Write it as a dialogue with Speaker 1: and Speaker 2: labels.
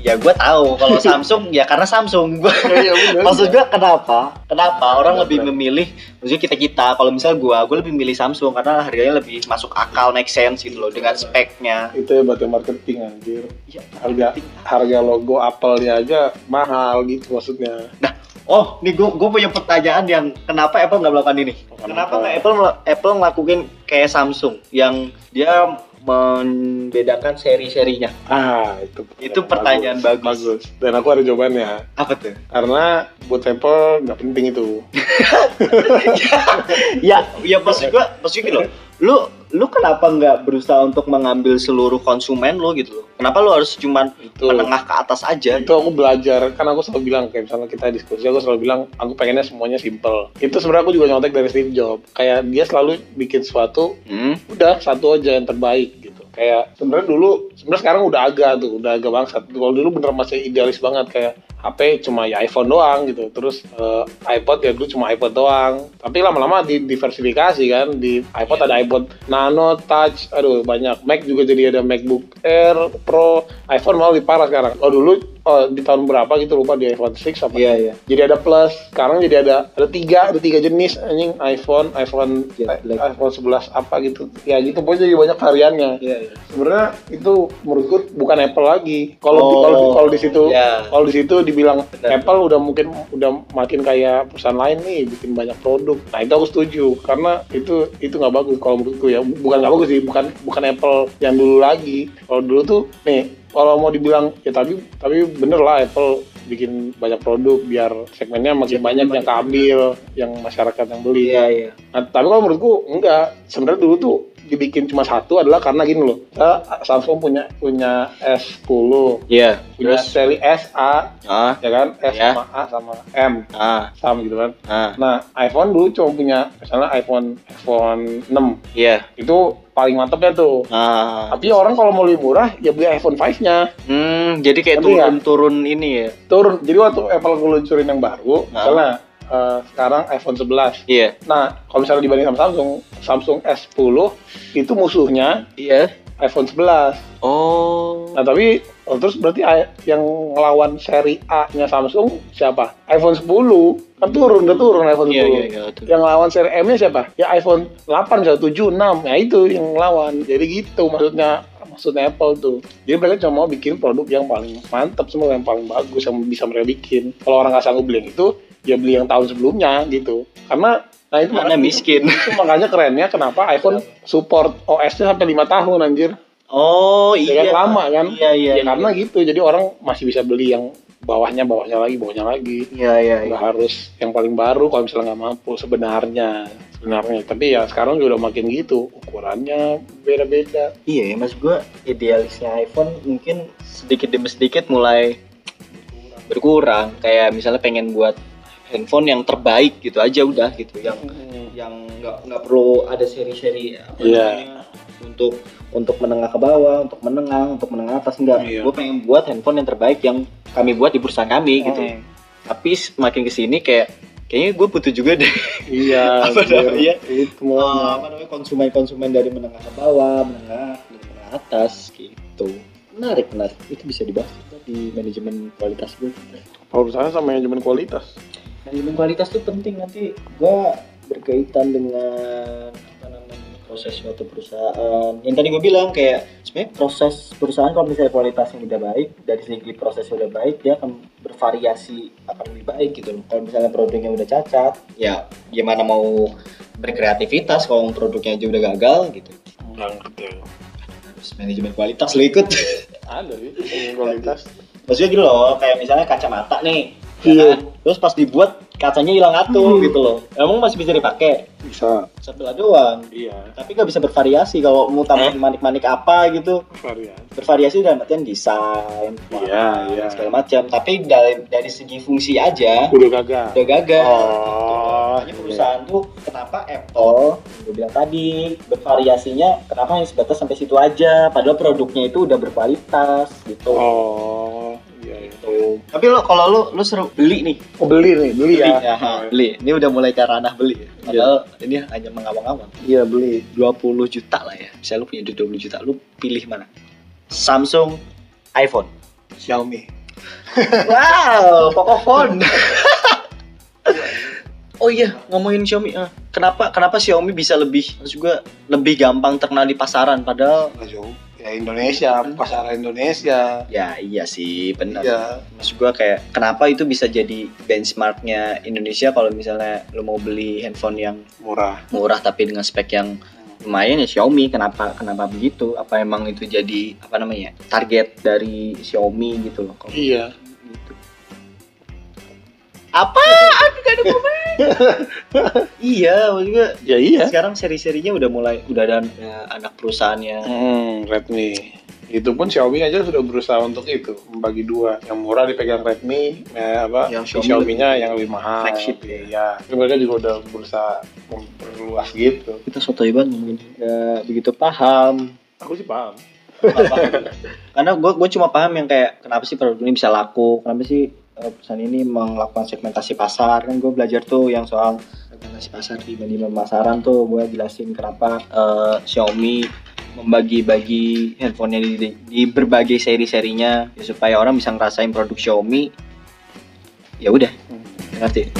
Speaker 1: ya gue tahu kalau Samsung ya karena Samsung gue
Speaker 2: Iya, iya, bener.
Speaker 1: maksud gue kenapa kenapa orang
Speaker 2: Bener,
Speaker 1: lebih
Speaker 2: bener.
Speaker 1: memilih maksudnya kita kita kalau misal gue gue lebih milih Samsung karena harganya lebih masuk akal make sense gitu loh dengan speknya
Speaker 2: itu ya batu marketing anjir
Speaker 1: Iya.
Speaker 2: harga harga logo Apple-nya aja mahal gitu maksudnya
Speaker 1: Nah, oh, nih gue punya pertanyaan yang kenapa Apple nggak melakukan ini? Kenapa
Speaker 2: Kenapa?
Speaker 1: nggak Apple mel- Apple ngelakuin kayak Samsung yang dia membedakan seri-serinya?
Speaker 2: ah itu
Speaker 1: Itu pertanyaan bagus.
Speaker 2: bagus dan aku ada jawabannya
Speaker 1: Apa tuh?
Speaker 2: karena buat Apple nggak penting itu
Speaker 1: ya, ya maksud gue, maksud gini loh. Lu lu kenapa nggak berusaha untuk mengambil seluruh konsumen lo gitu loh? Kenapa lu harus cuman
Speaker 2: Itu.
Speaker 1: menengah ke atas aja?
Speaker 2: itu aku belajar kan aku selalu bilang kayak misalnya kita diskusi aku selalu bilang aku pengennya semuanya simple itu sebenarnya aku juga nyontek dari Steve Jobs kayak dia selalu bikin sesuatu
Speaker 1: Hmm?
Speaker 2: udah satu aja yang terbaik gitu kayak sebenarnya dulu sebenarnya sekarang udah agak tuh udah agak bangsat kalau dulu bener masih idealis banget kayak HP cuma ya iPhone doang gitu terus eh, iPod ya dulu cuma iPod doang tapi lama-lama di diversifikasi kan di iPod ada iPod Nano Touch aduh banyak Mac juga jadi ada MacBook Air Pro iPhone malah lebih parah sekarang oh dulu oh, di tahun berapa gitu lupa di iPhone 6 apa
Speaker 1: Iya, iya.
Speaker 2: ya. jadi ada plus sekarang jadi ada ada tiga ada tiga jenis anjing iPhone iPhone
Speaker 1: Jet black.
Speaker 2: iPhone 11 apa gitu ya gitu pokoknya jadi banyak variannya
Speaker 1: Iya, iya.
Speaker 2: sebenarnya itu menurutku bukan Apple lagi kalau di-
Speaker 1: Oh,
Speaker 2: kalau di- kalau di situ
Speaker 1: ya.
Speaker 2: kalau di situ dibilang
Speaker 1: Benar.
Speaker 2: Apple udah mungkin udah makin kayak perusahaan lain nih bikin banyak produk nah itu aku setuju karena itu itu nggak bagus kalau menurutku ya bukan nggak bagus sih bukan bukan Apple yang dulu lagi kalau dulu tuh nih kalau mau dibilang ya tapi tapi bener lah Apple bikin banyak produk biar segmennya makin banyak yang keambil yang masyarakat yang beli
Speaker 1: Iya, iya.
Speaker 2: Nah, tapi kalau menurutku enggak. Sebenarnya dulu tuh dibikin cuma satu adalah karena gini loh. Kita Samsung punya punya S10,
Speaker 1: Iya.
Speaker 2: punya
Speaker 1: Terus
Speaker 2: seri S, A,
Speaker 1: ah,
Speaker 2: ya kan? S
Speaker 1: Ya.
Speaker 2: sama A sama M,
Speaker 1: ah,
Speaker 2: sama gitu kan.
Speaker 1: ah.
Speaker 2: Nah, iPhone dulu cuma punya misalnya iPhone iPhone 6.
Speaker 1: Iya.
Speaker 2: Itu paling mantepnya tuh.
Speaker 1: Ah.
Speaker 2: Tapi orang kalau mau lebih murah ya beli iPhone 5-nya.
Speaker 1: Hmm, jadi kayak
Speaker 2: Ngerti nggak?
Speaker 1: turun-turun ini ya.
Speaker 2: Turun. Jadi waktu Apple ngeluncurin yang baru,
Speaker 1: Nah.
Speaker 2: misalnya eh, sekarang iPhone 11.
Speaker 1: Iya.
Speaker 2: Nah, kalau misalnya dibanding sama Samsung, Samsung S10 itu musuhnya
Speaker 1: Iya.
Speaker 2: iPhone 11.
Speaker 1: Oh.
Speaker 2: Nah, tapi oh, terus berarti i- yang ngelawan seri A-nya Samsung siapa? iPhone 10. Kan turun, udah turun iPhone 10.
Speaker 1: Iya, iya, iya, betul.
Speaker 2: Yang ngelawan seri M-nya siapa? Ya iPhone 8, 176. Nah, itu yang ngelawan. Jadi gitu maksudnya maksudnya Apple tuh. Jadi mereka cuma mau bikin produk yang paling mantap semua, yang paling bagus, yang bisa mereka bikin. Kalau orang nggak sanggup beli yang itu, ya beli yang tahun sebelumnya gitu. Karena nah itu
Speaker 1: Karena
Speaker 2: makanya-
Speaker 1: miskin.
Speaker 2: itu makanya kerennya kenapa iPhone support OS-nya sampai 5 tahun anjir.
Speaker 1: Oh,
Speaker 2: Ya
Speaker 1: iya.
Speaker 2: kan lama kan?
Speaker 1: Iya, iya.
Speaker 2: ya karena gitu, jadi orang masih bisa beli yang bawahnya, bawahnya lagi, bawahnya lagi.
Speaker 1: Iya, iya, iya.
Speaker 2: Nggak harus yang paling baru kalau misalnya nggak mampu sebenarnya. Sebenarnya, tapi ya sekarang juga udah makin gitu. Ukurannya beda-beda.
Speaker 1: Iya, ya, Mas gua idealisnya iPhone mungkin sedikit demi sedikit mulai berkurang. Kayak misalnya pengen buat handphone yang terbaik gitu aja udah gitu. Yang
Speaker 2: Hmm.
Speaker 1: yang nggak nggak perlu ada seri-seri apa
Speaker 2: Iya.
Speaker 1: namanya, untuk untuk menengah ke bawah, untuk menengah, untuk menengah atas enggak.
Speaker 2: Iya.
Speaker 1: Gue pengen buat handphone yang terbaik yang kami buat di perusahaan kami gitu.
Speaker 2: Hmm.
Speaker 1: Tapi semakin kesini kayak kayaknya gue butuh juga deh
Speaker 2: Iya.
Speaker 1: Apa
Speaker 2: anjir.
Speaker 1: namanya?
Speaker 2: Itu
Speaker 1: eh,
Speaker 2: mau.
Speaker 1: apa namanya konsumen-konsumen dari menengah ke bawah, menengah, dari menengah atas gitu. Menarik, menarik. Itu bisa dibahas juga di manajemen kualitas gue.
Speaker 2: Urusannya sama manajemen kualitas.
Speaker 1: Manajemen Nah, kualitas tuh penting nanti gua berkaitan dengan apa namanya proses suatu perusahaan. Yang tadi gue bilang kayak sebenarnya proses perusahaan kalau misalnya kualitasnya udah baik dari segi prosesnya udah baik dia akan bervariasi akan lebih baik gitu loh. Kalau misalnya produknya udah cacat, ya gimana mau berkreativitas kalau produknya aja udah gagal gitu.
Speaker 2: Enggak ngerti. aku.
Speaker 1: Harus manajemen kualitas lo ikut.
Speaker 2: Ada sih manajemen kualitas.
Speaker 1: Maksudnya gitu loh, kayak misalnya kacamata nih. ya
Speaker 2: Iya.
Speaker 1: kan? Terus pas dibuat kacanya hilang atuh gitu loh. Emang masih bisa dipakai?
Speaker 2: Bisa.
Speaker 1: sebelah doang
Speaker 2: Iya.
Speaker 1: tapi nggak bisa bervariasi kalau mau tambahin
Speaker 2: Eh?
Speaker 1: manik-manik apa gitu
Speaker 2: Varian.
Speaker 1: bervariasi dalam artian desain
Speaker 2: Iya,
Speaker 1: warna,
Speaker 2: iya.
Speaker 1: segala macam tapi dari dari segi fungsi aja
Speaker 2: Udah gagal.
Speaker 1: udah gagal
Speaker 2: Oh,
Speaker 1: Makanya perusahaan tuh kenapa Apple yang gue bilang tadi bervariasinya kenapa hanya sebatas sampai situ aja padahal produknya itu udah berkualitas gitu
Speaker 2: Oh, iya. iya.
Speaker 1: Gitu. tapi lo kalau lo lo seru beli nih
Speaker 2: Oh beli nih, beli Iya.
Speaker 1: beli,
Speaker 2: ya.
Speaker 1: aha, beli. ini udah mulai ke ranah beli padahal ini hanya mengawang-awang
Speaker 2: Iya beli.
Speaker 1: 20 juta lah ya. Misalnya lu punya duit 20 juta, lu pilih mana? Samsung, iPhone.
Speaker 2: Xiaomi.
Speaker 1: wow, Pocophone. oh iya, ngomongin Xiaomi. ah, Kenapa kenapa Xiaomi bisa lebih terus juga lebih gampang terkenal di pasaran padahal
Speaker 2: Nah, jauh. Ya Indonesia, pasar Indonesia.
Speaker 1: ya iya sih benar.
Speaker 2: Iya.
Speaker 1: Maksud gua kayak kenapa itu bisa jadi benchmarknya Indonesia kalau misalnya lu mau beli handphone yang
Speaker 2: Murah.
Speaker 1: murah tapi dengan spek yang lumayan ya Xiaomi kenapa kenapa begitu apa emang itu jadi apa namanya target dari Xiaomi gitu loh kalau
Speaker 2: Iya.
Speaker 1: gitu. Apa? Aduh gak ada komen. iya, maksudnya
Speaker 2: Ya iya.
Speaker 1: sekarang seri-serinya udah mulai udah ada ada anak perusahaannya.
Speaker 2: Hmm, Redmi. Itu pun Xiaomi aja sudah berusaha untuk itu, membagi dua. Yang murah dipegang Redmi, eh, apa?
Speaker 1: Yang Xiaomi
Speaker 2: Yang Xiaomi-nya yang lebih mahal.
Speaker 1: Flagship.
Speaker 2: Iya. Itu mereka juga udah berusaha memperluas gitu.
Speaker 1: Kita soto banget mungkin nggak Ya, begitu paham.
Speaker 2: Aku sih paham.
Speaker 1: Nggak paham. Karena gue gue cuma paham yang kayak kenapa sih produk ini bisa laku, kenapa sih eh, perusahaan ini melakukan segmentasi pasar kan gue belajar tuh yang soal segmentasi pasar di manajemen pemasaran tuh gue jelasin kenapa eh, Xiaomi membagi-bagi handphonenya di, di- di berbagai seri-serinya ya, supaya orang bisa ngerasain produk Xiaomi ya udah ngerti